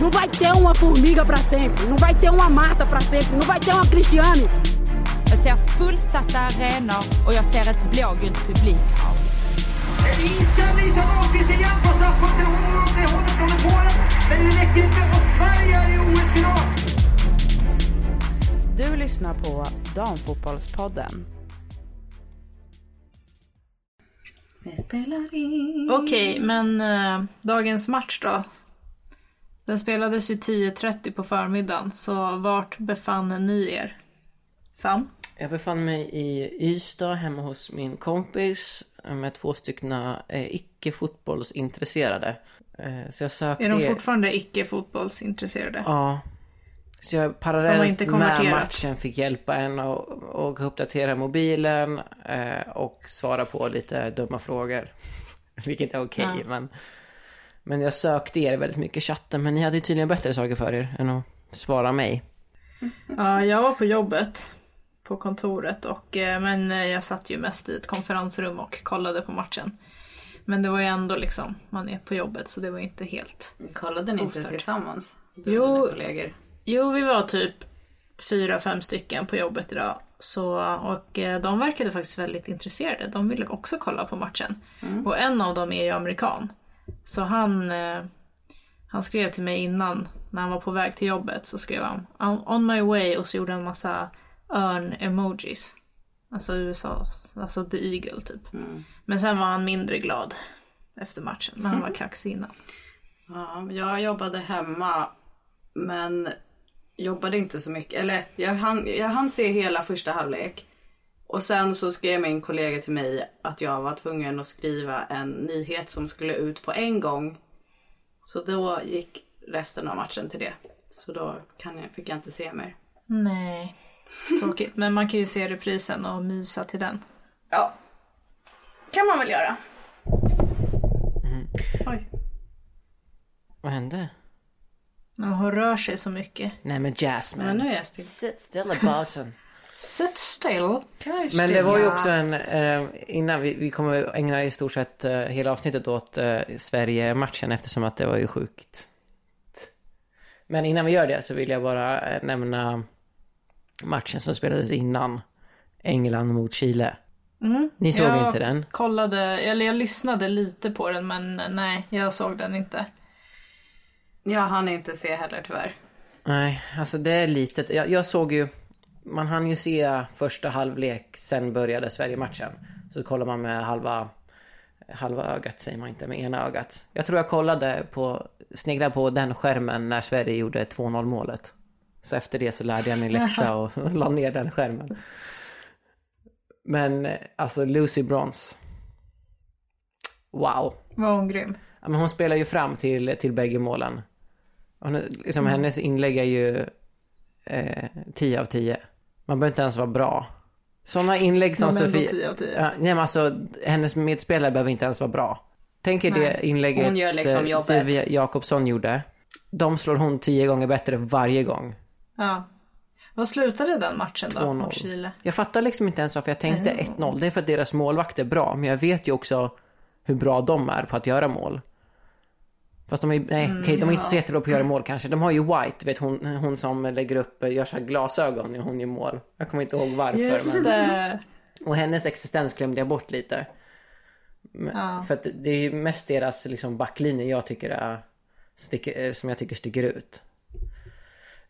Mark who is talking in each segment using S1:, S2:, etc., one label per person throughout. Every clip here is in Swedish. S1: Não vai ter uma formiga pra sempre, não vai ter uma Marta pra sempre, não vai ter uma Cristiane.
S2: Jag ser fullsatta arenor och jag ser ett blågult publikhav.
S3: Inställning som avgörs igen på straffpunkten. Hon håller hållet från Polen, men det räcker inte. Och Sverige är i OS-final.
S4: Du lyssnar på Damfotbollspodden.
S5: Okej, men eh, dagens match då? Den spelades ju 10.30 på förmiddagen, så vart befann ni er? Sam?
S6: Jag befann mig i Ystad hemma hos min kompis eh, med två stycken eh, icke fotbollsintresserade. Eh, så jag sökte...
S5: Är de fortfarande icke fotbollsintresserade?
S6: Ja. Så jag
S5: De har
S6: parallellt
S5: inte
S6: med
S5: konverterat.
S6: matchen fick hjälpa en och, och uppdatera mobilen eh, och svara på lite dumma frågor. Vilket är okej,
S5: Ja.
S6: men... Men jag sökte er väldigt mycket i chatten, men ni hade ju tydligen bättre saker för er än att svara mig.
S5: Ja, jag var på jobbet på kontoret och eh, men eh, jag satt ju mest i ett konferensrum och kollade på matchen. Men det var ju ändå liksom, man är på jobbet så det var inte helt.
S7: Kollade ni inte
S5: Ostört.
S7: tillsammans? Du
S5: Jo.
S7: och dina kollegor.
S5: Jo, vi var typ fyra, fem stycken på jobbet idag. Så, och eh, de verkade faktiskt väldigt intresserade. De ville också kolla på matchen.
S7: Mm.
S5: Och en av dem är ju amerikan. Så han, eh, han skrev till mig innan, när han var på väg till jobbet, så skrev han "I'm on my way och så gjorde han massa örn-emojis. Alltså USA, alltså the eagle typ.
S7: Mm.
S5: Men sen var han mindre glad efter matchen, men han var kaxig innan.
S7: Ja, jag jobbade hemma men jobbade inte så mycket. Eller jag hann, jag hann se hela första halvlek. Och sen så skrev min kollega till mig att jag var tvungen att skriva en nyhet som skulle ut på en gång. Så då gick resten av matchen till det. Så då kan jag, fick jag inte se mer.
S5: Nej, tråkigt. Men man kan ju se reprisen och mysa till den.
S7: Ja. Kan man väl göra. Oj.
S6: Vad hände?
S5: Och hon rör sig så mycket.
S6: Nej men
S7: Men
S6: Jasmine.
S7: nu är jag still.
S6: Sit still about
S5: Sit still.
S6: Men det var ju också en, eh, innan vi, vi kommer ägna i stort sett eh, hela avsnittet åt eh, Sverige-matchen eftersom att det var ju sjukt. Men innan vi gör det så vill jag bara eh, nämna matchen som spelades innan. England mot Chile.
S5: Mm.
S6: Ni såg
S5: jag
S6: inte den?
S5: kollade, eller jag lyssnade lite på den men nej, jag såg den inte.
S7: Jag hann inte se heller tyvärr.
S6: Nej, alltså det är litet. Jag, jag såg ju, man hann ju se första halvlek, sen började Sverige-matchen. Så kollar man med halva, halva ögat säger man inte, med ena ögat. Jag tror jag kollade på, sneglade på den skärmen när Sverige gjorde 2-0 målet. Så efter det så lärde jag mig läxa och la ner den skärmen. Men alltså Lucy Bronze. Wow.
S5: Var hon grym?
S6: Ja, men hon spelar ju fram till, till bägge målen. Hon, är- liksom,
S7: Mm.
S6: Hennes inlägg är ju eh, 10 av 10. Man behöver inte ens vara bra. Sådana inlägg som
S5: Men ändå
S6: Sofie...
S5: 10 av 10.
S6: Ja, nej men alltså, hennes medspelare behöver inte ens vara bra. Tänk er det inlägget
S7: Hon gör liksom
S6: eh,
S7: jobbet.
S6: Sofia Jakobsson gjorde. De slår hon 10 gånger bättre varje gång.
S5: Ja. Vad slutade den matchen då?
S6: 2-0.
S5: Mot Chile?
S6: Jag fattar liksom inte ens varför jag tänkte 1-0. Det är för att deras målvakt är bra, men jag vet ju också hur bra de är på att göra mål. Fast de är, nej, okej, de är inte så jättebra på att göra mål kanske. De har ju White, vet hon, hon som lägger upp, gör så här glasögon när hon gör mål. Jag kommer inte ihåg varför. men-
S5: det.
S6: och hennes existens glömde jag bort lite. Men- För att det är ju mest deras liksom backlinje jag tycker är, sticker, eh, som jag tycker sticker ut.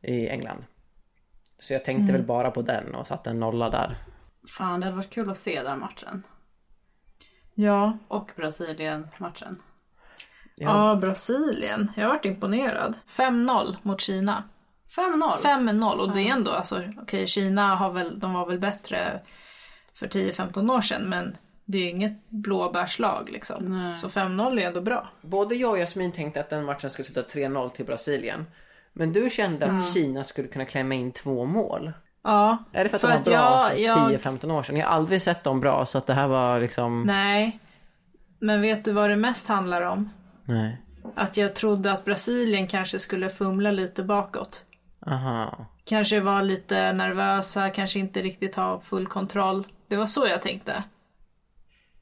S6: I England. Så jag tänkte väl bara på den och satte en nolla där.
S7: Fan, det hade varit kul att se den matchen.
S5: Ja.
S7: Och Brasilien-matchen.
S5: ja, Brasilien. Jag varit imponerad. 5-0 mot Kina.
S7: 5-0.
S5: 5-0 och det är ändå alltså, okej Kina har väl, de var väl bättre för 10-15 år sedan men det är ju inget blåbärslag liksom. Så 5-0 är ändå bra.
S6: Både jag och Jasmin tänkte att den matchen skulle sluta 3-0 till Brasilien. Men du kände
S5: Mm.
S6: att Kina skulle kunna klämma in två mål.
S5: Ja,
S6: Är det för att de var bra
S5: jag-
S6: för
S5: jag-
S6: 10-15 år sedan? Jag har aldrig sett dem bra så att det här var liksom...
S5: Nej, men vet du vad det mest handlar om?
S6: Nej.
S5: Att jag trodde att Brasilien kanske skulle fumla lite bakåt.
S6: Aha.
S5: Kanske var lite nervösa, kanske inte riktigt ha full kontroll. Det var så jag tänkte.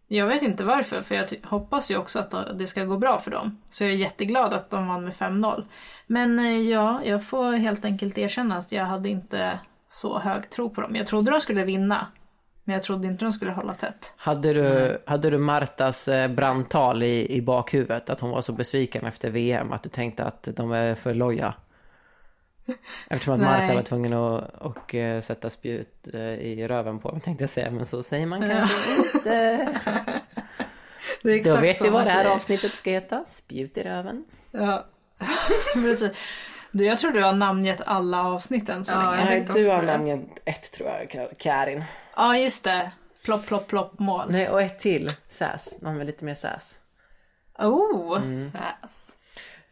S5: Jag vet inte varför, för jag ty- hoppas ju också att det ska gå bra för dem. Så jag är jätteglad att de vann med 5-0. Men eh, ja, jag får helt enkelt erkänna att jag hade inte så hög tro på dem. Jag trodde de skulle vinna, men jag trodde inte de skulle hålla tätt.
S6: Hade du, hade du Martas eh, brandtal i, i bakhuvudet? Att hon var så besviken efter VM? Att du tänkte att de är för loja? Eftersom att Marta
S5: Nej.
S6: var tvungen att och, eh, sätta spjut eh, i röven på dem tänkte jag säga. Men så säger man kanske inte.
S5: Det är
S6: Då vet vi vad det här avsnittet ska heta. Spjut i röven.
S5: Ja. Precis. Du, jag tror du har namngett alla avsnitten så länge.
S7: jag tänkte också på det.
S6: namngett ett tror jag, Karin.
S5: Ja, just det. Plopp, plopp, plopp, mål.
S6: Nej, och ett till. Sass. Någon med lite mer sass.
S5: Oh!
S7: Sass. Mm.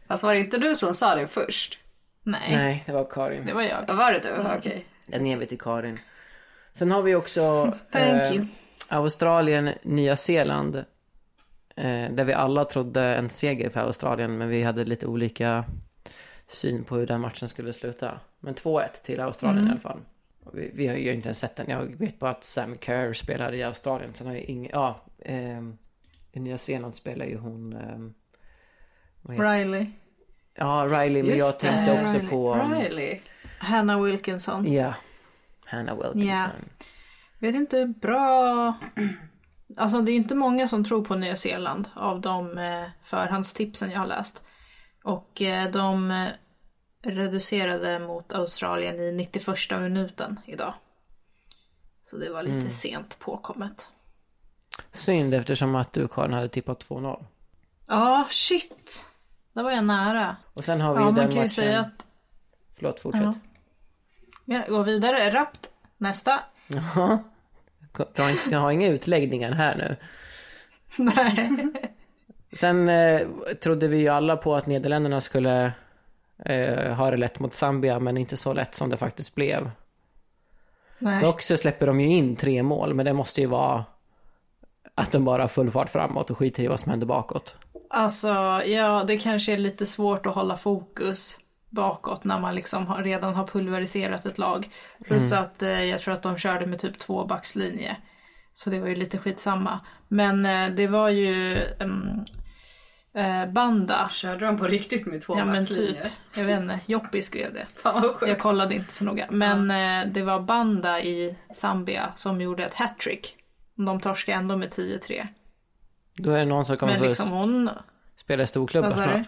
S7: Fast var det inte du som sa det först?
S5: Nej.
S6: Nej, det var Karin.
S5: det var jag. Mm.
S7: Var det du? Okej.
S6: Den ger vi till Karin. Sen har vi också eh,
S5: Thank you.
S6: Australien, Nya Zeeland. Eh, där vi alla trodde en seger för Australien men vi hade lite olika syn på hur den matchen skulle sluta. Men 2-1 till Australien i alla fall. Och Vi, vi har ju inte ens sett den. Jag vet bara att Sam Kerr spelar i Australien. Sen har jag ingen... Ja, ehm, i Nya Zeeland spelar ju hon... ehm,
S5: Riley.
S6: ja, Riley. Men
S7: Just
S6: jag
S7: det,
S6: tänkte också
S5: Riley.
S6: på... ehm,
S7: Riley.
S5: Hannah Wilkinson.
S6: Ja. Hannah Wilkinson.
S5: Ja. Vet inte hur bra... Alltså det är inte många som tror på Nya Zeeland av de eh, förhandstipsen jag har läst. Och eh, de eh, reducerade mot Australien i 91 minuten idag. Så det var lite
S6: Mm.
S5: sent påkommet.
S6: Synd eftersom att du Karin hade tippat 2-0.
S5: Ja, shit! Där var jag nära.
S6: Och sen har vi
S5: Ja,
S6: ju
S5: man
S6: den
S5: kan
S6: matchen.
S5: ju säga att
S6: Förlåt, fortsätt.
S5: Jag går vidare rappt. Nästa.
S6: Jaha. Dra inte- Jag har inga utläggningar här nu.
S5: Nej.
S6: Sen eh, trodde vi ju alla på att Nederländerna skulle eh, ha det lätt mot Zambia, men inte så lätt som det faktiskt blev.
S5: Nej.
S6: Dock så släpper de ju in tre mål, men det måste ju vara att de bara har full fart framåt och skiter i vad som händer bakåt.
S5: Alltså, ja, det kanske är lite svårt att hålla fokus bakåt när man liksom har, redan har pulveriserat ett lag. Plus att eh, jag tror att de körde med typ två backslinje. Så det var ju lite skitsamma. Men eh, det var ju ehm, eh, Banda.
S7: Körde de på riktigt med två
S5: Ja men typ,
S7: världslinjer?
S5: jag vet inte, Joppi skrev det.
S7: Fan vad
S5: Jag
S7: sjukt.
S5: kollade inte så noga. Men eh, det var Banda i Zambia som gjorde ett hattrick. De torskade ändå med 10-3.
S6: Då är det någon som kommer
S5: Men
S6: få
S5: liksom hon...
S6: spela i storklubbar
S5: Vad sa du?
S6: snart.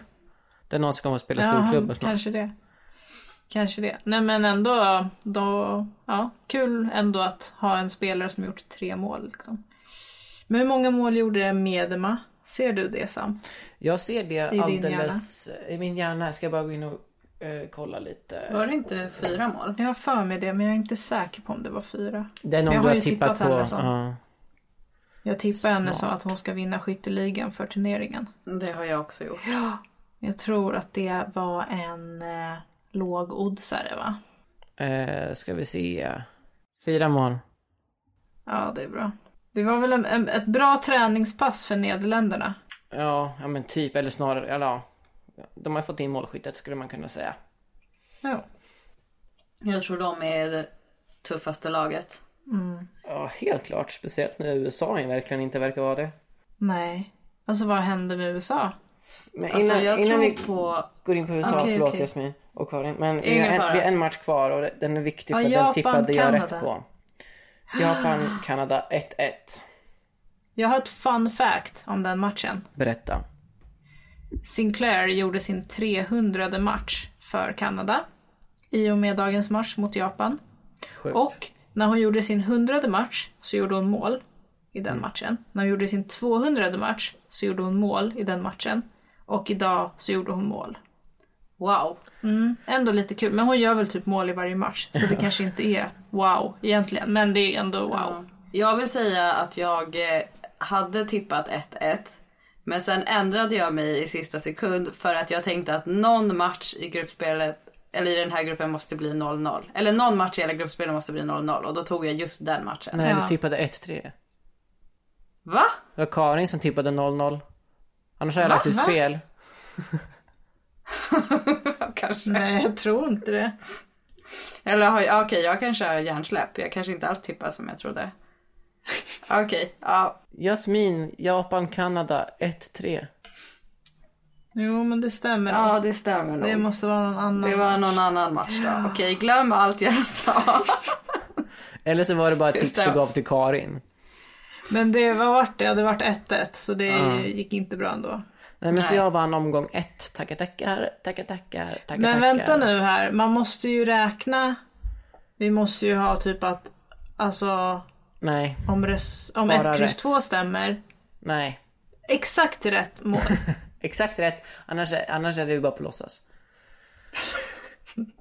S6: Det är någon som kommer få spela i
S5: Ja,
S6: storklubbar
S5: han,
S6: snart.
S5: kanske det. Kanske det. Nej men ändå, då, ja, kul ändå att ha en spelare som gjort tre mål. Liksom. Men hur många mål gjorde Medema? Ser du det Sam?
S6: Jag ser det
S5: din
S6: alldeles eh, i min hjärna. Ska jag bara gå in och eh, kolla lite.
S7: Var det inte fyra mål?
S5: Jag har för mig det men jag är inte säker på om det var fyra.
S6: Det är någon
S5: jag
S6: du
S5: har
S6: har
S5: ju
S6: tippat,
S5: tippat henne
S6: på.
S5: som-
S6: Ja.
S5: Jag tippar henne så
S6: Smart.
S5: att hon ska vinna skytteligan för turneringen.
S7: Det har jag också gjort.
S5: Ja, jag tror att det var en eh, lågoddsare va?
S6: Eh, ska vi se. Fyra mål.
S5: Ja, det är bra. Det var väl en, en, ett bra träningspass för Nederländerna.
S6: Ja, ja men typ. Eller snarare, eller ja. De har fått in målskyttet skulle man kunna säga.
S5: Ja.
S7: Jag tror de är det tuffaste laget.
S6: Ja, helt klart. Speciellt när USA verkligen inte verkar vara det.
S5: Nej. Alltså vad hände med USA?
S6: Men innan,
S7: Alltså jag
S6: innan
S7: tror
S6: vi
S7: på...
S6: går in på USA,
S5: Okej,
S6: förlåt
S5: okej.
S6: Jasmin och Karin. Men vi
S7: Ingen
S6: har, en,
S7: fara.
S6: vi har en match kvar och den är viktig för
S5: Ja,
S6: den
S5: Japan,
S6: tippade jag rätt
S5: Kanada.
S6: på. Japan, Kanada 1-1.
S5: Jag har ett fun fact om den matchen.
S6: Berätta.
S5: Sinclair gjorde sin 300 match för Kanada i och med dagens match mot Japan.
S6: Sjukt.
S5: Och när hon gjorde sin 100 match så gjorde hon mål i den matchen. När hon gjorde sin 200 match så gjorde hon mål i den matchen. Och idag så gjorde hon mål.
S7: Wow.
S5: Ändå lite kul, men hon gör väl typ mål i varje match. Så det kanske inte är wow egentligen, men det är ändå wow.
S7: Jag vill säga att jag eh, hade tippat 1-1. Men sen ändrade jag mig i sista sekund för att jag tänkte att någon match i gruppspelet eller i den här gruppen måste bli 0-0. Eller någon match i hela gruppspelet måste bli 0-0 och då tog jag just den matchen.
S6: Nej,
S5: Ja.
S6: du tippade 1-3.
S7: Va?
S6: Det var Karin som tippade 0-0. Annars har jag lagt ut fel.
S7: kanske.
S5: Nej, jag tror inte det.
S7: Eller har jag, okej jag kanske har hjärnsläpp. Jag kanske inte alls tippar som jag trodde. Okej, ja.
S6: Jasmin, Japan, Kanada 1-3.
S5: Jo, men det stämmer nog.
S7: ja, det stämmer nog.
S5: Det måste vara någon annan.
S7: Det var någon annan match då. Okej, glöm allt jag sa.
S6: Eller så var det bara ett tips du
S7: det.
S6: gav till Karin.
S5: Men det var vart det hade varit 1-1 så det gick inte bra ändå.
S6: Nej men så jag vann omgång ett. Tackar tackar, tackar tackar, tackar
S5: Men vänta
S6: tackar.
S5: nu här, man måste ju räkna. Vi måste ju ha typ att, alltså
S6: Nej,
S5: om, res, om
S6: Bara
S5: 1 kryss
S6: rätt.
S5: 2 stämmer,
S6: nej.
S5: exakt rätt mål.
S6: Exakt rätt. Annars, är- annars är det ju bara på låtsas.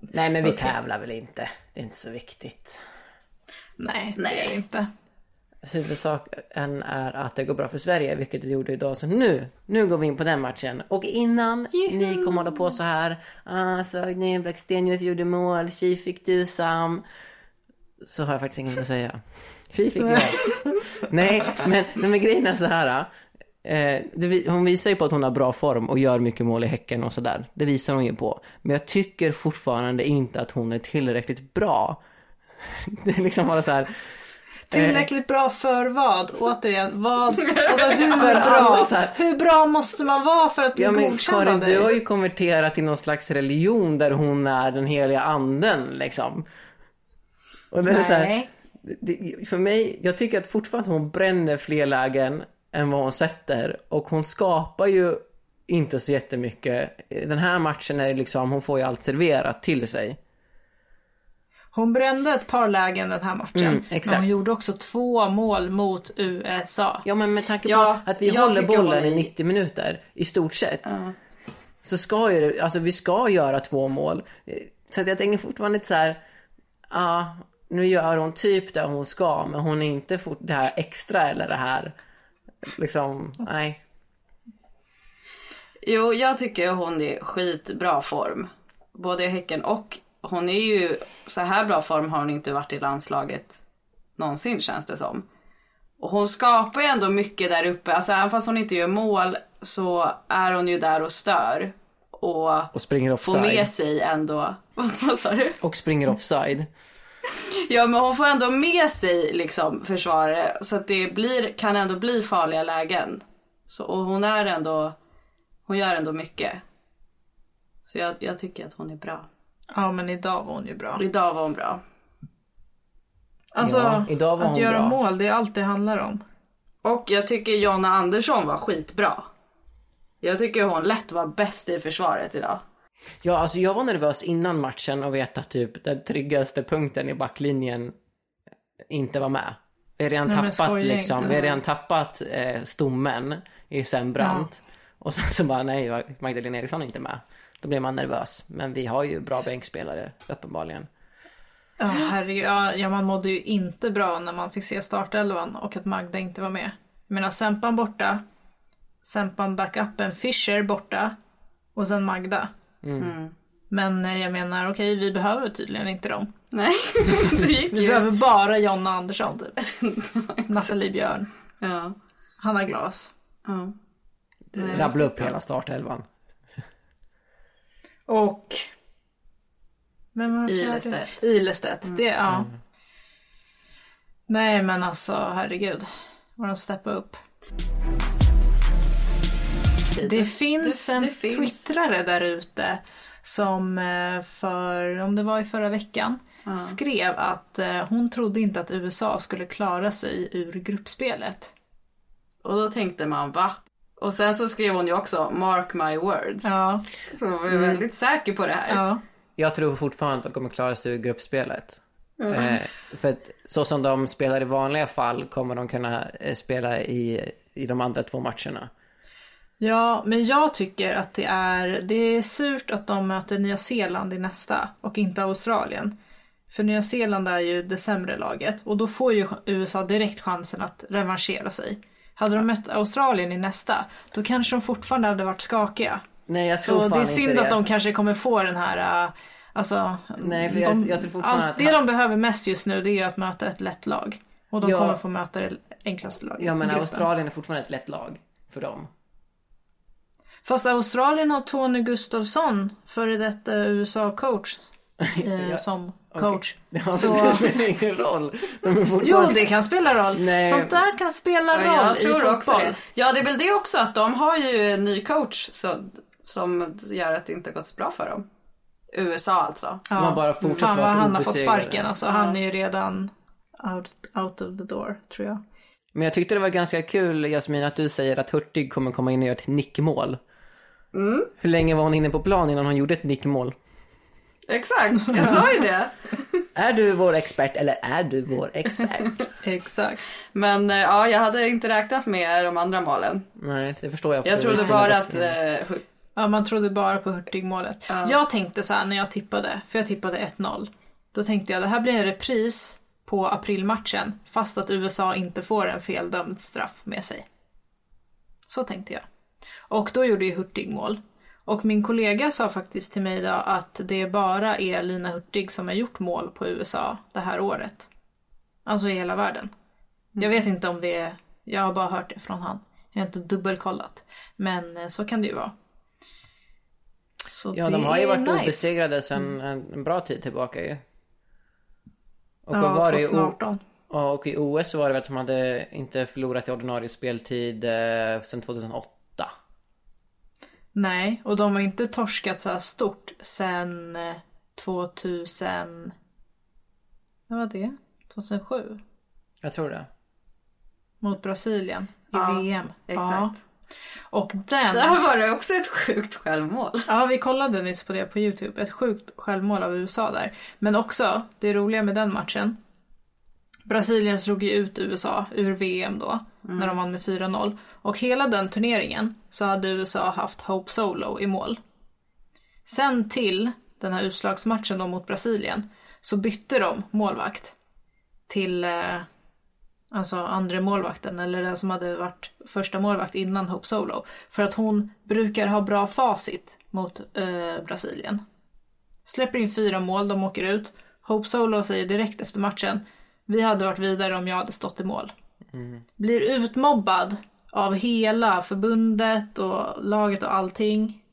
S6: nej men vi tävlar väl inte. Det är inte så viktigt.
S5: Nej, det är det
S6: Eh.
S5: inte.
S6: Huvudsaken är att det går bra för Sverige, vilket det gjorde idag. Så nu, nu går vi in på den matchen. Och innan ni kommer hålla på så här. Ah, såg ni Blackstenius gjorde mål, tji fick du Sam. Så har jag faktiskt ingenting att säga. Tji fick jag. Nej, men, nej, men grejen är så här. Eh, det, vi- hon visar ju på att hon har bra form och gör mycket mål i Häcken och sådär. Det visar hon ju på. Men jag tycker fortfarande inte att hon är tillräckligt bra. Det är liksom bara så här.
S5: Tillräckligt bra för vad? Återigen, vad? Alltså hur
S6: För alla
S5: bra,
S6: så här.
S5: hur bra måste man vara för att bli
S6: Ja men
S5: godkänd av
S6: Karin, du har
S5: dig?
S6: ju konverterat till någon slags religion där hon är den heliga anden liksom. Och det är så här,
S5: Nej.
S6: det, för mig, jag tycker att fortfarande hon bränner fler lägen än vad hon sätter och hon skapar ju inte så jättemycket. Den här matchen är liksom, hon får ju allt serverat till sig.
S5: Hon brände ett par lägen den här matchen.
S6: Mm, exakt.
S5: Men hon gjorde också två mål mot USA.
S6: Ja men med tanke på
S7: Ja,
S6: att vi
S7: jag
S6: håller
S7: tycker
S6: bollen
S7: hon
S6: i
S7: är-
S6: 90 minuter i stort sett. Så ska ju det, alltså vi ska göra två mål. Eh, Så att jag tänker fortfarande lite så här. Ja, nu gör hon typ det hon ska men hon är inte fort det här extra eller det här. Liksom, nej.
S7: Jo, jag tycker hon är skitbra form. Både i Häcken och hon är ju, så här bra form har hon inte varit i landslaget någonsin känns det som. Och hon skapar ju ändå mycket där uppe, alltså även fast hon inte gör mål så är hon ju där och stör. Och
S6: Och springer
S7: får
S6: offside.
S7: med sig ändå, vad sa du?
S6: Och springer offside.
S7: Ja men hon får ändå med sig liksom försvarare så att det blir, kan ändå bli farliga lägen. Så, och hon är ändå, hon gör ändå mycket. Så jag, jag tycker att hon är bra.
S5: Ja men idag var hon ju bra.
S7: Idag var hon bra.
S5: Alltså
S6: Ja, idag var
S5: att
S6: hon
S5: göra
S6: bra.
S5: mål, det är allt det handlar om.
S7: Och jag tycker Jonna Andersson var skitbra. Jag tycker hon lätt var bäst i försvaret idag.
S6: Ja, alltså jag var nervös innan matchen och veta att typ den tryggaste punkten i backlinjen eh, inte var med. Vi har redan
S5: Nej, men
S6: tappat
S5: skojgäng.
S6: liksom, vi har redan tappat eh, stommen i Sembrant. Och sen så bara nej, Magdalena Eriksson är inte med. Då blir man nervös. Men vi har ju bra bänkspelare uppenbarligen.
S5: Ja herregud, ja, ja man mådde ju inte bra när man fick se startelvan och att Magda inte var med. Jag menar Sempan borta, Sempan backupen Fischer borta och sen Magda.
S6: Mm.
S5: Men eh, jag menar okej, vi behöver tydligen inte dem.
S7: Nej, det gick
S5: Vi
S7: ju.
S5: behöver bara Jonna Andersson typ. Nathalie Björn,
S7: Ja,
S5: Hanna Glas.
S7: ja.
S6: Rabbla upp hela startelvan.
S5: Och... Vem var det fjärde?
S7: Ilestedt.
S5: Ilestedt,
S7: Mm.
S5: det ja. Nej men alltså herregud. Vad de steppar upp. Det, finns
S7: det-
S5: en
S7: det finns.
S5: twittrare där ute som eh, för, om det var i förra veckan, skrev att eh, hon trodde inte att USA skulle klara sig ur gruppspelet.
S7: Och då tänkte man va? Och sen så skrev hon ju också mark my words.
S5: Ja,
S7: Så hon var ju väldigt säker på det här.
S5: ja.
S6: Jag tror fortfarande att de kommer klara sig ur gruppspelet. Eh, för att så som de spelar i vanliga fall kommer de kunna eh, spela i, i de andra två matcherna.
S5: Ja, men jag tycker att det är, det är surt att de möter Nya Zeeland i nästa och inte Australien. För Nya Zeeland är ju det sämre laget och då får ju USA direkt chansen att revanschera sig. Hade de mött Australien i nästa, då kanske de fortfarande hade varit skakiga.
S6: Nej, jag tror
S5: Så
S6: fan
S5: det är
S6: inte
S5: synd
S6: det.
S5: att de kanske kommer få den här, äh, alltså...
S6: Nej, för jag-
S5: de,
S6: jag tror fortfarande
S5: allt,
S6: att-
S5: Det de behöver mest just nu det är ju att möta ett lätt lag. Och de
S6: Ja.
S5: kommer få möta det enklaste laget.
S6: Ja
S5: i
S6: men
S5: gruppen.
S6: Australien är fortfarande ett lätt lag för dem.
S5: Fast Australien har Tony Gustafsson, före detta USA-coach, eh, som coach.
S6: Ja,
S5: Så-
S6: Det spelar ingen roll. De är
S5: Jo,
S6: fortfarande...
S5: det kan spela roll.
S6: Nej.
S5: Sånt där kan spela roll
S7: Ja, jag
S5: i
S7: tror också
S5: fotboll.
S7: det. Ja, det är väl det också att de har ju en ny coach så, som gör att det inte har gått så bra för dem. USA alltså.
S5: Ja.
S6: Man bara fortsätter
S5: Fan vad
S6: vara
S5: han har fått
S6: obesegrade.
S5: sparken. Alltså, Han är ju redan out, out of the door, tror jag.
S6: Men jag tyckte det var ganska kul Jasmin att du säger att Hurtig kommer komma in och göra ett nickmål.
S7: Mm.
S6: Hur länge var hon inne på plan innan hon gjorde ett nickmål?
S7: Exakt, jag sa ju det.
S6: Är du vår expert eller är du vår expert?
S5: Exakt.
S7: Men eh, ja, jag hade inte räknat med de andra målen.
S6: Nej, det förstår jag. för
S7: Jag
S6: du
S7: trodde
S6: visste nog
S7: bara att...
S6: också.
S7: Eh, Hur-
S5: Ja, man trodde bara på Hurtig-målet. Jag tänkte så här när jag tippade, för jag tippade 1-0. Då tänkte jag det här blir en repris på aprilmatchen fast att USA inte får en feldömd straff med sig. Så tänkte jag. Och då gjorde ju Hurtig mål. Och min kollega sa faktiskt till mig då att det bara är Lina Hurtig som har gjort mål på USA det här året. Alltså i hela världen. Jag
S6: Mm.
S5: vet inte om det är, jag har bara hört det från han. Jag har inte dubbelkollat. Men eh, så kan det ju vara. Så
S6: Ja,
S5: det
S6: de har ju
S5: är
S6: varit
S5: nice. Mm.
S6: obesegrade sedan en, en bra tid tillbaka ju. Och, vad
S5: Ja,
S6: var det i O-
S5: 2018.
S6: ja, och i OS så var det väl att de hade inte förlorat i ordinarie speltid eh, sedan 2008.
S5: Nej, och de har inte torskat så här stort sen eh, 2000... Vad var det? 2007?
S6: Jag tror det.
S5: Mot Brasilien i VM.
S7: Exakt.
S5: Ja. Och den...
S7: Där var det också ett sjukt självmål.
S5: Ja, vi kollade nyss på det på Youtube. Ett sjukt självmål av USA där. Men också, det roliga med den matchen. Brasilien slog ju ut USA ur VM då, när de vann med 4-0. Och hela den turneringen så hade USA haft Hope Solo i mål. Sen till den här utslagsmatchen då mot Brasilien så bytte de målvakt till eh, alltså andra målvakten eller den som hade varit första målvakt innan Hope Solo. För att hon brukar ha bra facit mot eh, Brasilien. Släpper in fyra mål, de åker ut. Hope Solo säger direkt efter matchen vi hade varit vidare om jag hade stått i mål. Blir utmobbad av hela förbundet och laget och allting.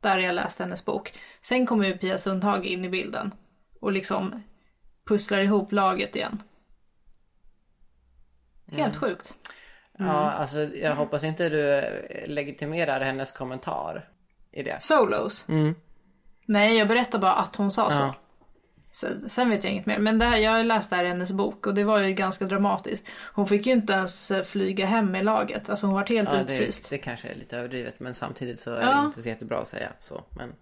S5: Där jag läst hennes bok. Sen kommer ju Pia Sundhage in i bilden och liksom pusslar ihop laget igen. Helt sjukt.
S6: Ja, alltså jag hoppas inte du legitimerar hennes kommentar i det.
S5: Solos?
S6: Mm.
S5: Nej, jag berättar bara att hon sa så.
S6: Ja.
S5: Sen, sen vet jag inget mer. Men det här, jag har läst det här i hennes bok och det var ju ganska dramatiskt. Hon fick ju inte ens eh, flyga hem i laget. Alltså hon var helt
S6: Ja, det,
S5: utfryst.
S6: det kanske är lite överdrivet men samtidigt så är
S5: Ja.
S6: det inte så jättebra att säga så. Men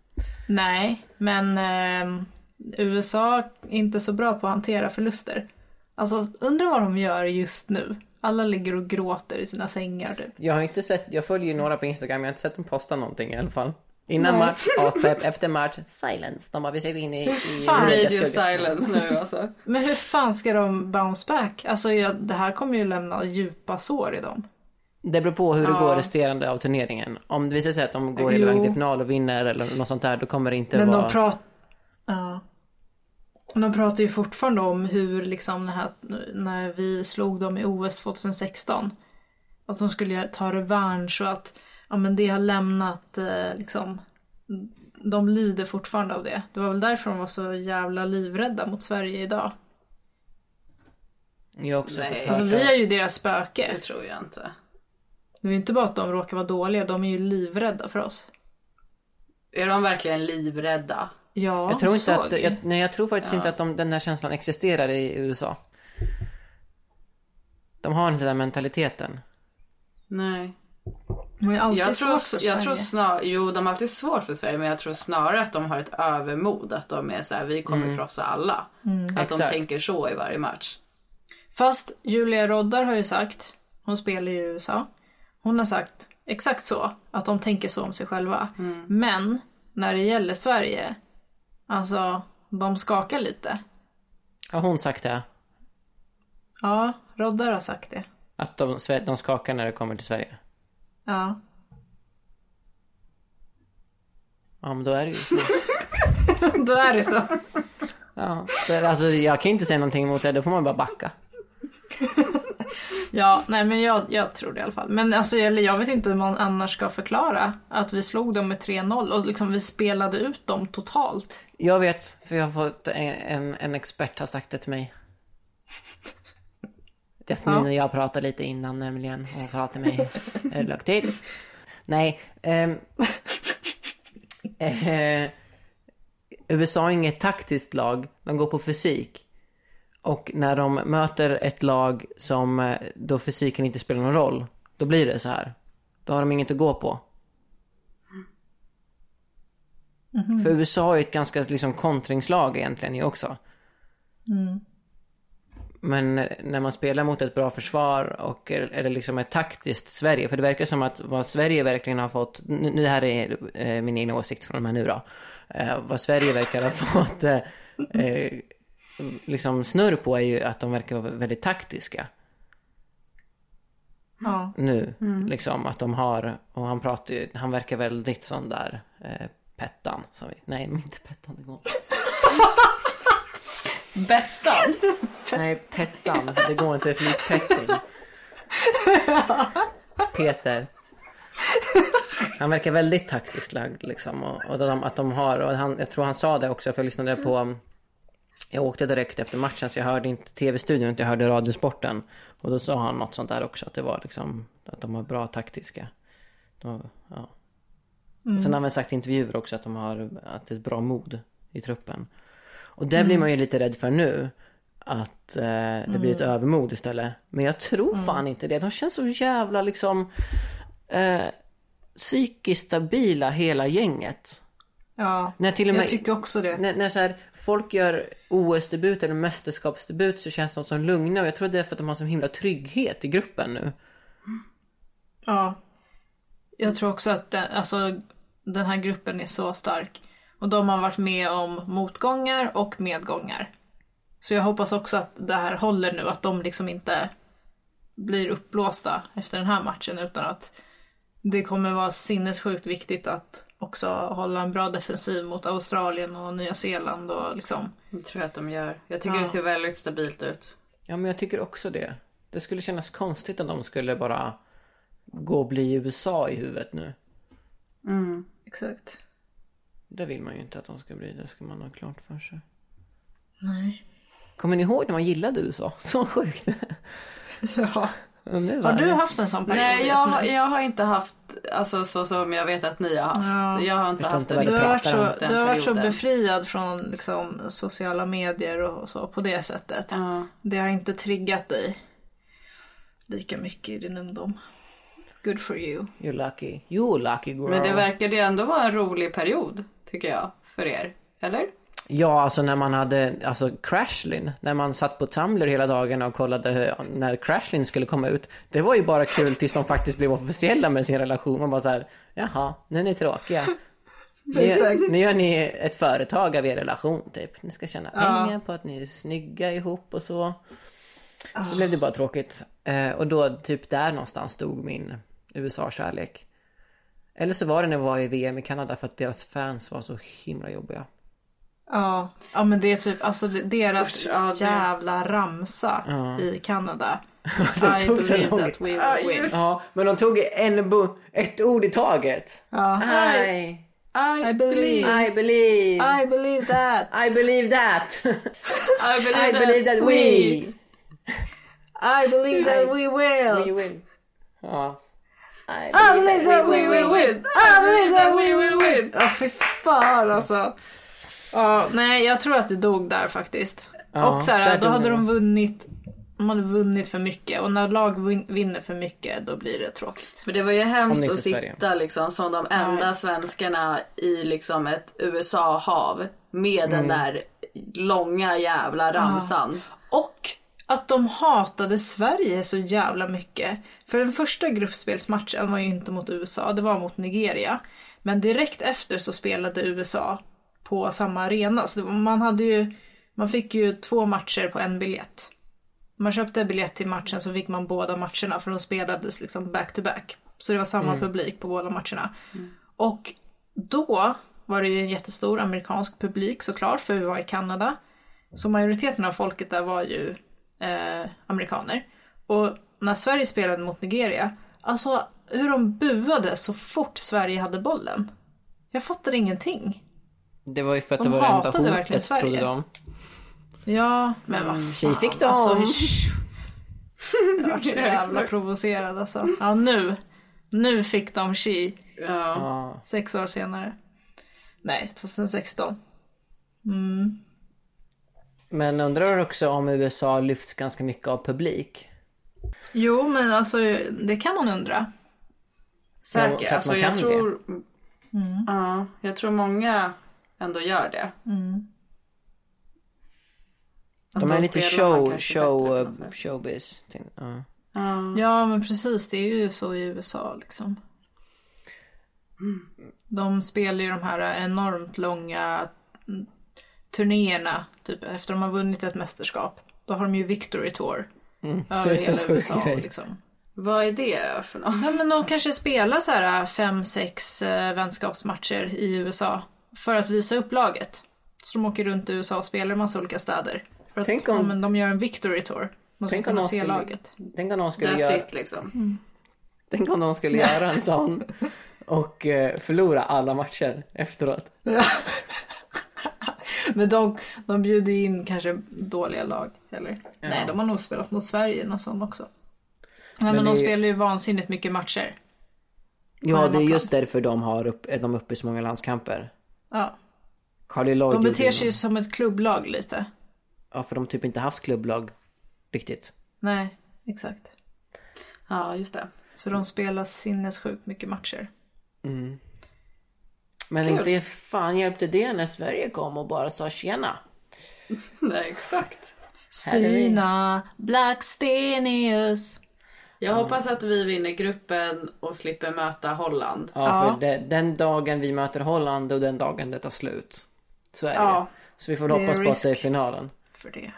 S5: Nej, men ehm, USA är inte så bra på att hantera förluster. Alltså undrar vad de gör just nu. Alla ligger och gråter i sina sängar typ.
S6: jag har inte sett, jag följer ju några på Instagram, jag har inte sett dem posta någonting i alla fall. Innan match, aspepp, efter match, silence. De bara vi ska gå in i, i
S5: fan?
S6: mediaskugga."
S7: Radio silence nu alltså.
S5: Men hur fan ska de bounce back? Alltså jag, det här kommer ju lämna djupa sår i dem.
S6: Det beror på hur det går resterande av turneringen. Om det visar sig att de går hela vägen till
S5: Jo.
S6: final och vinner eller något sånt där då kommer det inte
S5: Men
S6: vara...
S5: de pratar... Ja. De pratar ju fortfarande om hur liksom det här, när vi slog dem i OS 2016. Att de skulle ta revansch och att ja, men det har lämnat eh, liksom... De lider fortfarande av det. Det var väl därför de var så jävla livrädda mot Sverige idag.
S6: Jag har också
S7: Nej.
S6: fått
S5: Alltså
S6: höra-
S5: vi är ju deras spöke.
S7: Det tror jag inte.
S5: Det är ju inte bara att de råkar vara dåliga, de är ju livrädda för oss.
S7: Är de verkligen livrädda?
S5: Ja,
S6: Jag tror, inte
S5: såg
S6: att, jag, nej, jag tror faktiskt inte att de, den här känslan existerar i USA. De har inte den mentaliteten.
S7: Nej.
S5: De har ju alltid
S7: Jag tror,
S5: svårt för
S7: jag tror
S5: Sverige.
S7: snar, jo, de har alltid svårt för Sverige men jag tror snarare att de har ett övermod. Att de är så här, vi kommer krossa alla. Att de
S6: Exakt.
S7: tänker så i varje match.
S5: Fast Julia Roddar har ju sagt, hon spelar ju i USA, hon har sagt exakt så, att de tänker så om sig själva. Men när det gäller Sverige, alltså de skakar lite.
S6: Har hon sagt det?
S5: Ja, Roddar har sagt det.
S6: Att de, sve- de skakar när det kommer till Sverige?
S5: Ja.
S6: Ja, men då är det ju så.
S5: Då är det så.
S6: Ja. Så, Alltså, jag kan inte säga någonting emot det, då får man bara backa.
S5: Ja, nej men jag, jag tror det i alla fall. Men alltså, eller jag vet inte hur man annars ska förklara att vi slog dem med 3-0 och liksom vi spelade ut dem totalt.
S6: Jag vet, för jag har fått en, en, en expert har sagt det till mig. Jasmin och jag pratade lite innan nämligen. Hon sa till mig, "Eh, lugg till. Nej. ehm, eh, USA är inget taktiskt lag. De går på fysik. Och när de möter ett lag som eh, då fysiken inte spelar någon roll, då blir det så här. Då har de inget att gå på. För USA är ett ganska liksom kontringslag egentligen ju också. Men när man spelar mot ett bra försvar och eller liksom ett taktiskt Sverige, för det verkar som att vad Sverige verkligen har fått, nu nu här är eh, min egna åsikt från och med nu då, eh, vad Sverige verkar ha fått eh, eh, liksom snurr på är ju att de verkar vara väldigt taktiska
S5: Ja.
S6: nu. Liksom att de har, och han pratar ju, han verkar väldigt sån där eh, Pettan, som vi, nej men inte Pettan, det går inte.
S5: Bettan!
S6: Nej, Pettan. Det går inte, för det är Petting. Peter. Han verkar väldigt taktiskt lagd liksom. Och, och de, att de har, och han, jag tror han sa det också för jag lyssnade på jag åkte direkt efter matchen så jag hörde inte tv-studion, inte jag hörde radiosporten. Och då sa han något sånt där också, att det var liksom att de har bra taktiska. De, har- ja. Sen har han väl sagt i intervjuer också att de har att det är ett bra mod i truppen. Och det blir man ju lite rädd för nu. Att eh, det blir ett
S5: Mm.
S6: övermod istället. Men jag tror fan inte det. De känns så jävla liksom eh, psykiskt stabila hela gänget.
S5: Ja,
S6: När till och med-
S5: jag tycker också det.
S6: När, när så här, folk gör OS-debut eller mästerskapsdebut så känns de som lugna och jag tror det är för att de har sån himla trygghet i gruppen nu.
S5: Ja. Jag tror också att den, alltså, den här gruppen är så stark. Och de har varit med om motgångar och medgångar. Så jag hoppas också att det här håller nu, att de liksom inte blir uppblåsta efter den här matchen utan att det kommer vara sinnessjukt viktigt att också hålla en bra defensiv mot Australien och Nya Zeeland och liksom.
S7: Det tror jag att de gör. Jag tycker det ser väldigt stabilt ut.
S6: Ja men jag tycker också det. Det skulle kännas konstigt om de skulle bara gå och bli USA i huvudet nu.
S7: Mm.
S5: Exakt.
S6: Det vill man ju inte att de ska bli, det ska man ha klart för sig.
S5: Nej.
S6: Kommer ni ihåg när man gillade USA? Så sjukt.
S5: Ja.
S6: Och nu
S5: Har
S6: var
S5: du
S6: det-
S5: haft en sån period?
S7: Nej, jag, har-
S5: Jasmin?
S7: jag har inte haft, alltså så som jag vet att ni har haft. Jag har inte
S6: Vet
S7: haft
S6: inte
S7: en
S6: vad
S5: Du har, varit
S6: pratar
S5: så,
S7: om den
S5: du har varit så
S7: perioden.
S5: befriad från liksom, sociala medier och så på det sättet.
S7: Ja.
S5: Det har inte triggat dig lika mycket i din ungdom. Good for you.
S6: You're lucky. You lucky girl.
S7: Men det verkade ju ändå vara en rolig period, tycker jag, för er. Eller?
S6: Ja, alltså när man hade, alltså Crashlin, när man satt på Tumblr hela dagarna och kollade hur- när Crashlin skulle komma ut. Det var ju bara kul tills de faktiskt blev officiella med sin relation. Man bara så här, jaha, nu är ni tråkiga. Nu, nu gör ni ett företag av er relation typ. Ni ska tjäna pengar på att ni är snygga ihop och så. Så blev det bara tråkigt. Eh, och då typ där någonstans stod min USA-kärlek. Eller så var det när vi var i VM i Kanada för att deras fans var så himla jobbiga.
S5: Ja, ja men det är typ alltså det- deras
S7: Usch, ja, det-
S5: jävla ramsa i Kanada. I
S6: tog så
S5: believe
S6: lång-
S5: that we will win.
S6: Ja, men de tog en bu- ett ord i taget. I,
S5: I believe,
S6: I believe,
S5: I believe that.
S6: I believe that.
S5: I believe,
S6: I believe that we,
S5: I believe that we will.
S6: we will. Ja.
S5: I believe that we will win! I believe that we will win! Ja, fy fan alltså. Ja, nej, jag tror att det dog där faktiskt.
S6: Ja,
S5: och så
S6: där
S5: här, då
S6: dog
S5: hade
S6: det.
S5: de vunnit, de hade vunnit för mycket och när lag vin- vinner för mycket då blir det tråkigt.
S7: Men det var ju
S6: Om
S7: hemskt
S6: det
S7: att
S6: inte är Sverige.
S7: sitta liksom som de enda svenskarna i liksom ett USA-hav med
S6: Mm.
S7: den där långa jävla ramsan.
S5: Och att de hatade Sverige så jävla mycket. För den första gruppspelsmatchen var ju inte mot USA, det var mot Nigeria. Men direkt efter så spelade USA på samma arena. Så det var- man, hade ju, man fick ju två matcher på en biljett. Man köpte en biljett till matchen så fick man båda matcherna för de spelades liksom back to back. Så det var samma publik på båda matcherna. Och då var det ju en jättestor amerikansk publik såklart för vi var i Kanada. Så majoriteten av folket där var ju eh, amerikaner. Och när Sverige spelade mot Nigeria. Alltså hur de buade så fort Sverige hade bollen. Jag fattar ingenting.
S6: Det var ju för att
S5: De
S6: det var det enda
S5: hatade verkligen
S6: hotet
S5: Sverige.
S6: trodde de.
S5: Ja, men vad fan.
S6: tji fick de.
S5: Alltså, jag vart så jävla provocerad alltså. Ja, nu. Nu fick de chi.
S7: Ja.
S6: Ja.
S5: Sex år senare. Nej, 2016.
S6: Men undrar också om USA lyfts ganska mycket av publik.
S5: Jo, men alltså det kan man undra.
S6: Ja, för
S7: Säkert.
S6: att
S7: Alltså
S6: man
S7: jag
S6: kan
S7: tror... Ja, jag tror många ändå gör det. Att
S6: De är lite
S7: spelarna
S6: show,
S7: kanske
S6: show, eh,
S7: bättre på något sätt.
S6: showbiz. Tänk- Ja.
S7: Ja.
S5: Ja, men precis. Det är ju så i USA liksom. De spelar ju de här enormt långa mm, turnéerna. Typ efter de har vunnit ett mästerskap. Då har de ju Victory Tour. Över
S6: Mm. är så
S5: hela
S6: sjuk
S5: USA
S6: grej.
S5: liksom.
S7: Vad är det då för något?
S5: Ja, men de kanske spelar så här äh, fem, sex eh, vänskapsmatcher i USA. För att visa upp laget. Så de åker runt i USA och spelar i massa olika städer. För att
S6: Tänk om-
S5: ja, men de gör en Victory Tour. Man ska
S6: Tänk om
S5: kunna
S6: de
S5: se
S6: skulle-
S5: laget.
S6: Tänk om någon skulle
S7: That's
S6: göra...
S7: it liksom.
S6: Tänk om de skulle göra en sån och eh, förlora alla matcher efteråt.
S5: Men de, de bjuder ju in kanske dåliga lag. Eller? Nej, de har nog spelat mot Sverige någon sån också. Nej, men,
S6: det är
S5: de
S6: ju-
S5: spelar ju vansinnigt mycket matcher.
S6: Ja, det är
S5: hemmaplan.
S6: just därför de har upp, är de uppe i så många landskamper.
S5: Ja.
S6: Carly Lloyd
S5: De
S6: gjorde
S5: beter sig
S6: någon-
S5: ju som ett klubblag lite.
S6: Ja, för de har typ inte haft klubblag riktigt.
S5: Nej, exakt.
S7: Ja, just det.
S5: Så de spelar sinnessjukt mycket matcher.
S6: Men inte fan hjälpte det när Sverige kom och bara sa tjena.
S7: Nej, exakt.
S5: Stina Blackstenius.
S7: Jag hoppas att vi vinner gruppen och slipper möta Holland.
S6: Ja, för det, den dagen vi möter Holland och den dagen det tar slut. Så är
S7: Ja.
S6: det Så vi får
S5: Det är
S6: hoppas på att
S5: risk.
S6: det är finalen.
S5: För det.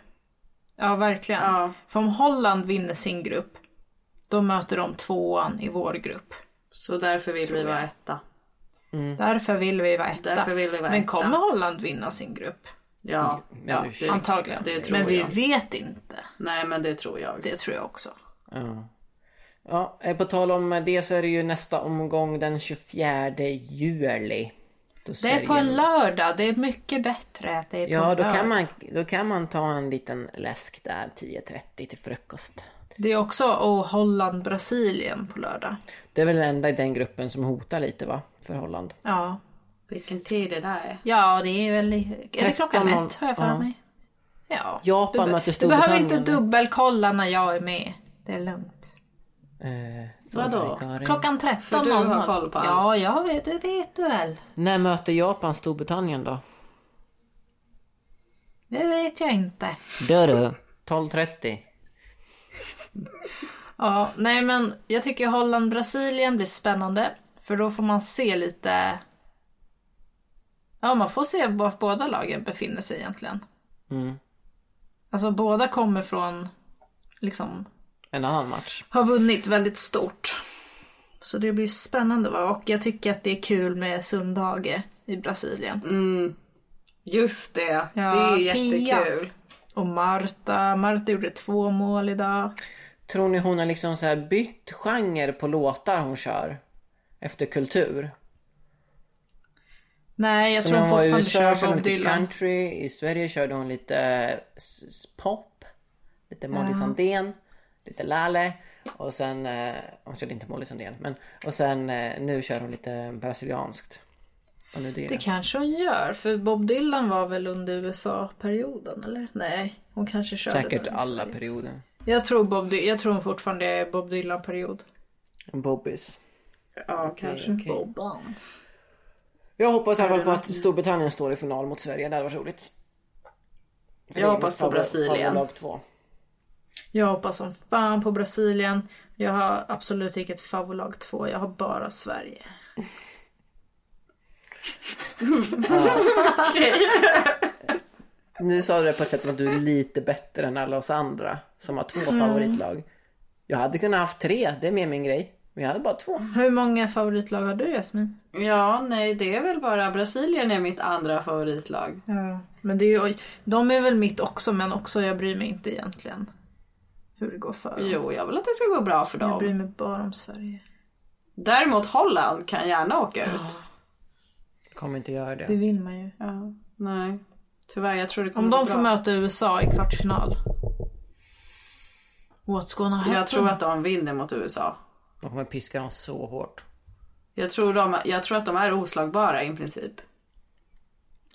S5: Ja, verkligen.
S7: Ja.
S5: För om Holland vinner sin grupp, då möter de tvåan i vår grupp.
S7: Så därför vill vi vara etta.
S5: Därför vill vi vara etta.
S7: Därför vill vi vara
S5: Men
S7: etta.
S5: kommer Holland vinna sin grupp?
S7: Ja.
S5: Ja,
S6: ursäkta.
S5: antagligen.
S7: det tror
S5: men vi
S7: jag.
S5: vet inte.
S7: Nej, men det tror jag.
S5: Det tror jag också.
S6: Ja. Ja, eh, på tal om det så är det ju nästa omgång den 24 juli.
S5: Det
S6: Då
S5: är
S6: Sverige-
S5: på en lördag. Det är mycket bättre att det är på
S6: Ja,
S5: en
S6: då
S5: lördag.
S6: kan, man, då kan man ta en liten läsk där 10.30 till frukost.
S5: Det är också oh, Holland-Brasilien på lördag.
S6: Det är väl den enda i den gruppen som hotar lite va? För Holland.
S5: Ja.
S7: Vilken tid det där är.
S5: Ja, det är väl... i- Är det klockan
S6: 13.00?
S5: ett, har jag för
S6: Ja.
S5: mig? Ja.
S6: Japan
S5: du, be-
S6: möter
S5: Du behöver
S6: Storbritannien.
S5: inte dubbelkolla när jag är med. Det är lugnt.
S6: Eh, så
S7: Vadå?
S6: Karin.
S5: Klockan 13.00. För
S7: du har koll på
S5: Ja, jag vet, det vet du väl.
S6: När möter Japan Storbritannien då?
S5: Det vet jag inte.
S6: Dör du? 12.30.
S5: Ja, nej men jag tycker Holland-Brasilien blir spännande. För då får man se lite... Ja, man får se vart båda lagen befinner sig egentligen.
S6: Mm.
S5: Alltså båda kommer från, liksom,
S6: En annan match.
S5: har vunnit väldigt stort. Så det blir spännande va? och jag tycker att det är kul med Sundhage i Brasilien.
S6: Mm.
S7: Just det.
S5: Ja,
S7: det är
S5: Pia.
S7: jättekul.
S5: Och Marta, Marta gjorde två mål idag.
S6: Tror ni hon har liksom så här bytt genre på låtar hon kör? Efter kultur?
S5: Nej, jag
S6: Så
S5: tror
S6: när
S5: hon
S6: hon var i
S5: fortfarande
S6: USA
S5: kör
S6: körde hon
S5: Bob
S6: lite
S5: Dylan.
S6: country, i Sverige körde hon lite eh, s- s- pop, lite Molly Sandén, lite Lale och sen, eh, hon körde inte Molly Sandén, men och sen eh, nu kör hon lite brasilianskt. Och nu det,
S5: Det kanske hon gör, för Bob Dylan var väl under USA-perioden eller? Nej, hon kanske körde
S6: Säkert
S5: den i
S6: alla
S5: Sverige.
S6: perioder.
S5: Jag tror, Bob Dy- jag tror hon fortfarande är Bob Dylan-period.
S6: Bobbys.
S7: Ja, kanske.
S5: Bobban.
S6: Jag hoppas i alla fall på att Storbritannien står i final mot Sverige, det hade varit roligt. För
S7: Jag
S6: det är
S7: hoppas
S6: mitt
S7: på
S6: favor-
S7: Brasilien.
S6: favoritlag två.
S5: Jag hoppas som fan på Brasilien. Jag har absolut inget favoritlag två, jag har bara Sverige.
S6: Nu sa du det på ett sätt som att du är lite bättre än alla oss andra som har två
S5: Mm.
S6: favoritlag. Jag hade kunnat haft tre, det är mer min grej. Men jag hade bara två.
S5: Hur många favoritlag har du Jasmin?
S7: Ja, nej, det är väl bara Brasilien är mitt andra favoritlag.
S5: Ja. Men det är ju, de är väl mitt också, men också jag bryr mig inte egentligen. hur det går för dem.
S7: Jo, jag vill att det ska gå bra för
S5: Jag bryr
S7: dem.
S5: mig bara om Sverige.
S7: Däremot Holland kan gärna åka ut.
S6: Kommer inte göra det.
S5: Det vill man ju.
S7: Ja, nej. Tyvärr, jag tror det kommer
S5: Om de
S7: gå
S5: får
S7: bra.
S5: möta USA i kvartsfinal. What's gonna happen?
S7: Jag tror att de vinner mot USA.
S6: De kommer piska dem så hårt.
S7: Jag tror, de, jag tror att de är oslagbara i princip.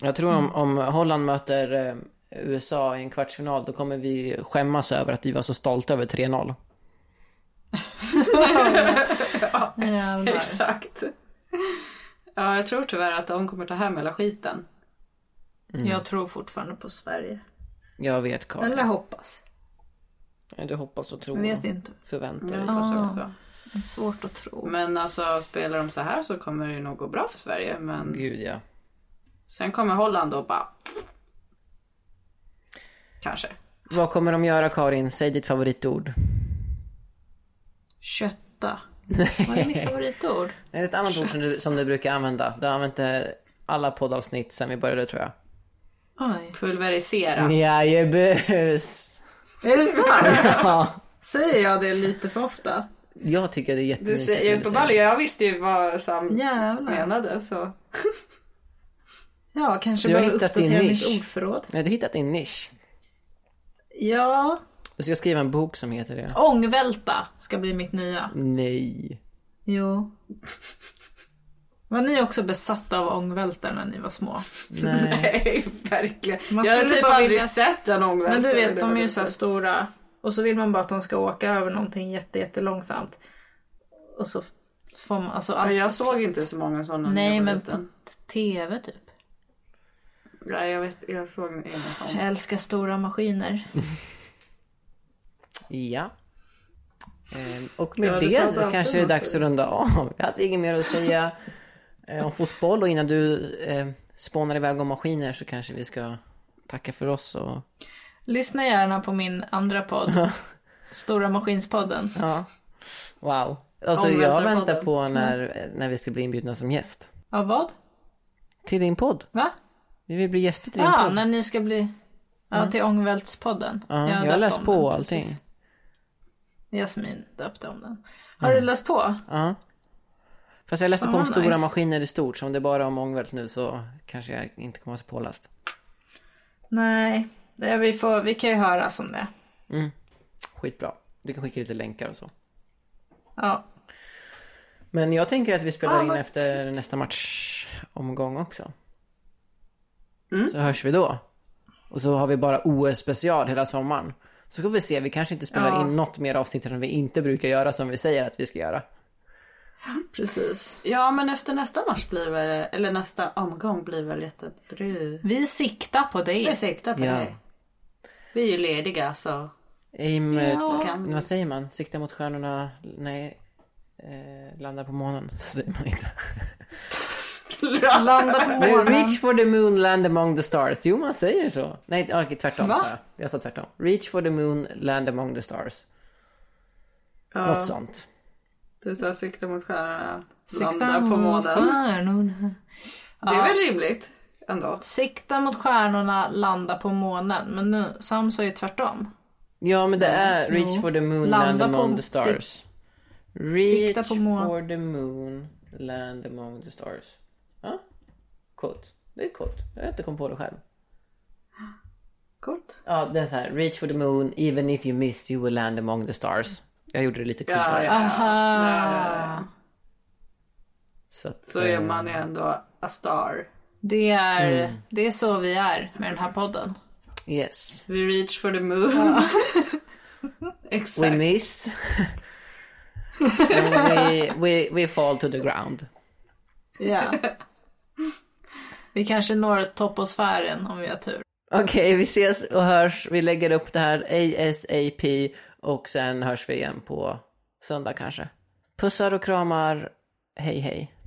S6: Jag tror om, om Holland möter eh, USA i en kvartsfinal då kommer vi skämmas över att vi var så stolta över 3-0.
S5: Jävlar.
S7: Exakt. Ja, jag tror tyvärr att de kommer ta hem hela skiten.
S5: Jag tror fortfarande på Sverige.
S6: Jag vet Karin.
S5: Mm. Eller hoppas. Mm.
S6: Du hoppas och tror.
S5: Jag vet inte.
S6: Förväntar dig.
S7: Jag hoppas också.
S5: Det är svårt att tro.
S7: Men alltså, spelar de så här så kommer det nog gå bra för Sverige. Men
S6: Gud ja.
S7: sen kommer Holland och bara... Kanske.
S6: Vad kommer de göra Karin? Säg ditt favoritord.
S5: Kötta. Vad är mitt favoritord?
S6: Det är ett annat ord som du, som du brukar använda. Du har använt det alla poddavsnitt sen vi började tror jag.
S5: Oj.
S7: Pulverisera.
S6: Jajebus!
S5: Är det sant?
S6: Ja.
S5: Säger jag det lite för ofta?
S6: Jag tycker det är
S7: Du
S6: jättemysigt. när
S7: ser,
S6: du
S7: på
S6: säger det.
S7: Bali, jag visste ju vad Sam
S5: Jävlar.
S7: menade så.
S5: Ja, kanske
S6: Du har
S5: behöver
S6: hittat din
S5: uppdatera mitt
S6: nisch.
S5: ordförråd.
S6: Nej, du har hittat din nisch.
S5: Ja.
S6: Du ska skriva en bok som heter det.
S5: Ångvälta ska bli mitt nya.
S6: Nej.
S5: Jo. Var ni också besatta av ångvälta när ni var små?
S6: Nej.
S7: Nej, verkligen.
S5: Man
S7: jag har
S5: skulle
S7: typ
S5: bara
S7: aldrig
S5: vilja-
S7: sett en ångvält.
S5: Men du vet, de är ju så här stora. Och så vill man bara att de ska åka över någonting jätte, jättelångsamt. Och så får man, alltså
S7: Men
S5: allt...
S7: jag såg inte så många sådana när
S5: Nej
S7: jag var
S5: men på
S7: liten.
S5: TV typ.
S7: Nej, jag, vet, jag såg inga sådana.
S5: Jag älskar stora maskiner.
S6: Ja. Ehm, Och
S7: Ja,
S6: med
S7: du
S6: det
S7: pratar
S6: då kanske det är
S7: alltid
S6: dags att runda av. Jag hade inget mer att säga eh, om fotboll och innan du eh, spånar iväg om maskiner så kanske vi ska tacka för oss och
S5: Lyssna gärna på min andra podd. Stora Maskinspodden.
S6: ja. Wow. Alltså jag
S7: Omvältarpodden.
S6: väntar på när, när vi ska bli inbjudna som gäst.
S5: Av vad?
S6: Till din podd.
S5: Va?
S6: Vi vill bli gäster till din
S7: Ah,
S5: Ja,
S6: podd. Mm.
S5: när ni ska bli... Ja, till Ångvältspodden.
S6: Ja,
S5: har
S6: jag har
S5: döpt
S6: läst
S5: om
S6: på
S5: den,
S6: allting.
S5: precis. Jasmin döpte om den. Har
S6: Mm.
S5: du läst på?
S6: Ja. Fast jag läste
S5: Fan,
S6: på om
S5: vad
S6: stora
S5: nice.
S6: maskiner i stort, så om det är bara om ångvält nu så kanske jag inte kommer vara så påläst.
S5: Nej, det, vi, får, vi kan ju höra som det.
S6: Skitbra. Du kan skicka lite länkar och så.
S5: Ja.
S6: Men jag tänker att vi spelar in efter nästa matchomgång också.
S5: Mm.
S6: Så hörs vi då. Och så har vi bara OS-special hela sommaren. Så får vi se, vi kanske inte spelar
S5: Ja.
S6: in något mer avsnitt än vi inte brukar göra som vi säger att vi ska göra.
S5: Precis.
S7: Ja, men efter nästa match blir väl, eller nästa omgång blir väl jättebra.
S5: Vi siktar på
S7: Vi
S5: det.
S7: siktar på
S6: Ja.
S7: det. Vi är ju lediga så.
S6: Aim, eh,
S7: Kan-
S6: vad säger man? Sikta mot stjärnorna, nej, eh, landa på månen. Så säger man inte.
S5: Landa på
S6: Nej,
S5: månen.
S6: reach for the moon, land among the stars. Jo, man säger så. Nej, okej, tvärtom sa jag. Jag sa tvärtom. Reach for the moon, land among the stars. Något sånt.
S7: Du sa sikta mot stjärnorna,
S5: Sikta mot stjärnorna.
S7: Det är väl rimligt ändå.
S5: Sikta mot stjärnorna, landa på månen. Men nu, Sam sa ju tvärtom.
S6: Ja, men det är reach
S5: jo.
S6: for the moon,
S5: Landa
S6: land
S5: på-
S6: among the stars. Reach
S5: sikta på mån-
S6: for the moon, land among the stars. Ja, quote. Det är ett quote. Jag har inte kommit på det själv.
S7: Coolt.
S6: Ja, det är så här. Reach for the moon, even if you miss you will land among the stars. Jag gjorde det lite
S7: Ja,
S6: coolare.
S7: ja.
S5: Aha.
S6: Så, att,
S7: Så är
S6: eh,
S7: man ju ändå a star.
S5: Det är, det är så vi är med den här podden.
S6: eh, Yes.
S7: We reach for the moon. Exakt.
S6: We miss. And we, we, we fall to the ground.
S5: Ja. Vi kanske når toposfären om vi har tur.
S6: Okej, vi ses och hörs. Vi lägger upp det här ASAP och sen hörs vi igen på söndag kanske. Pussar och kramar. Hej hej.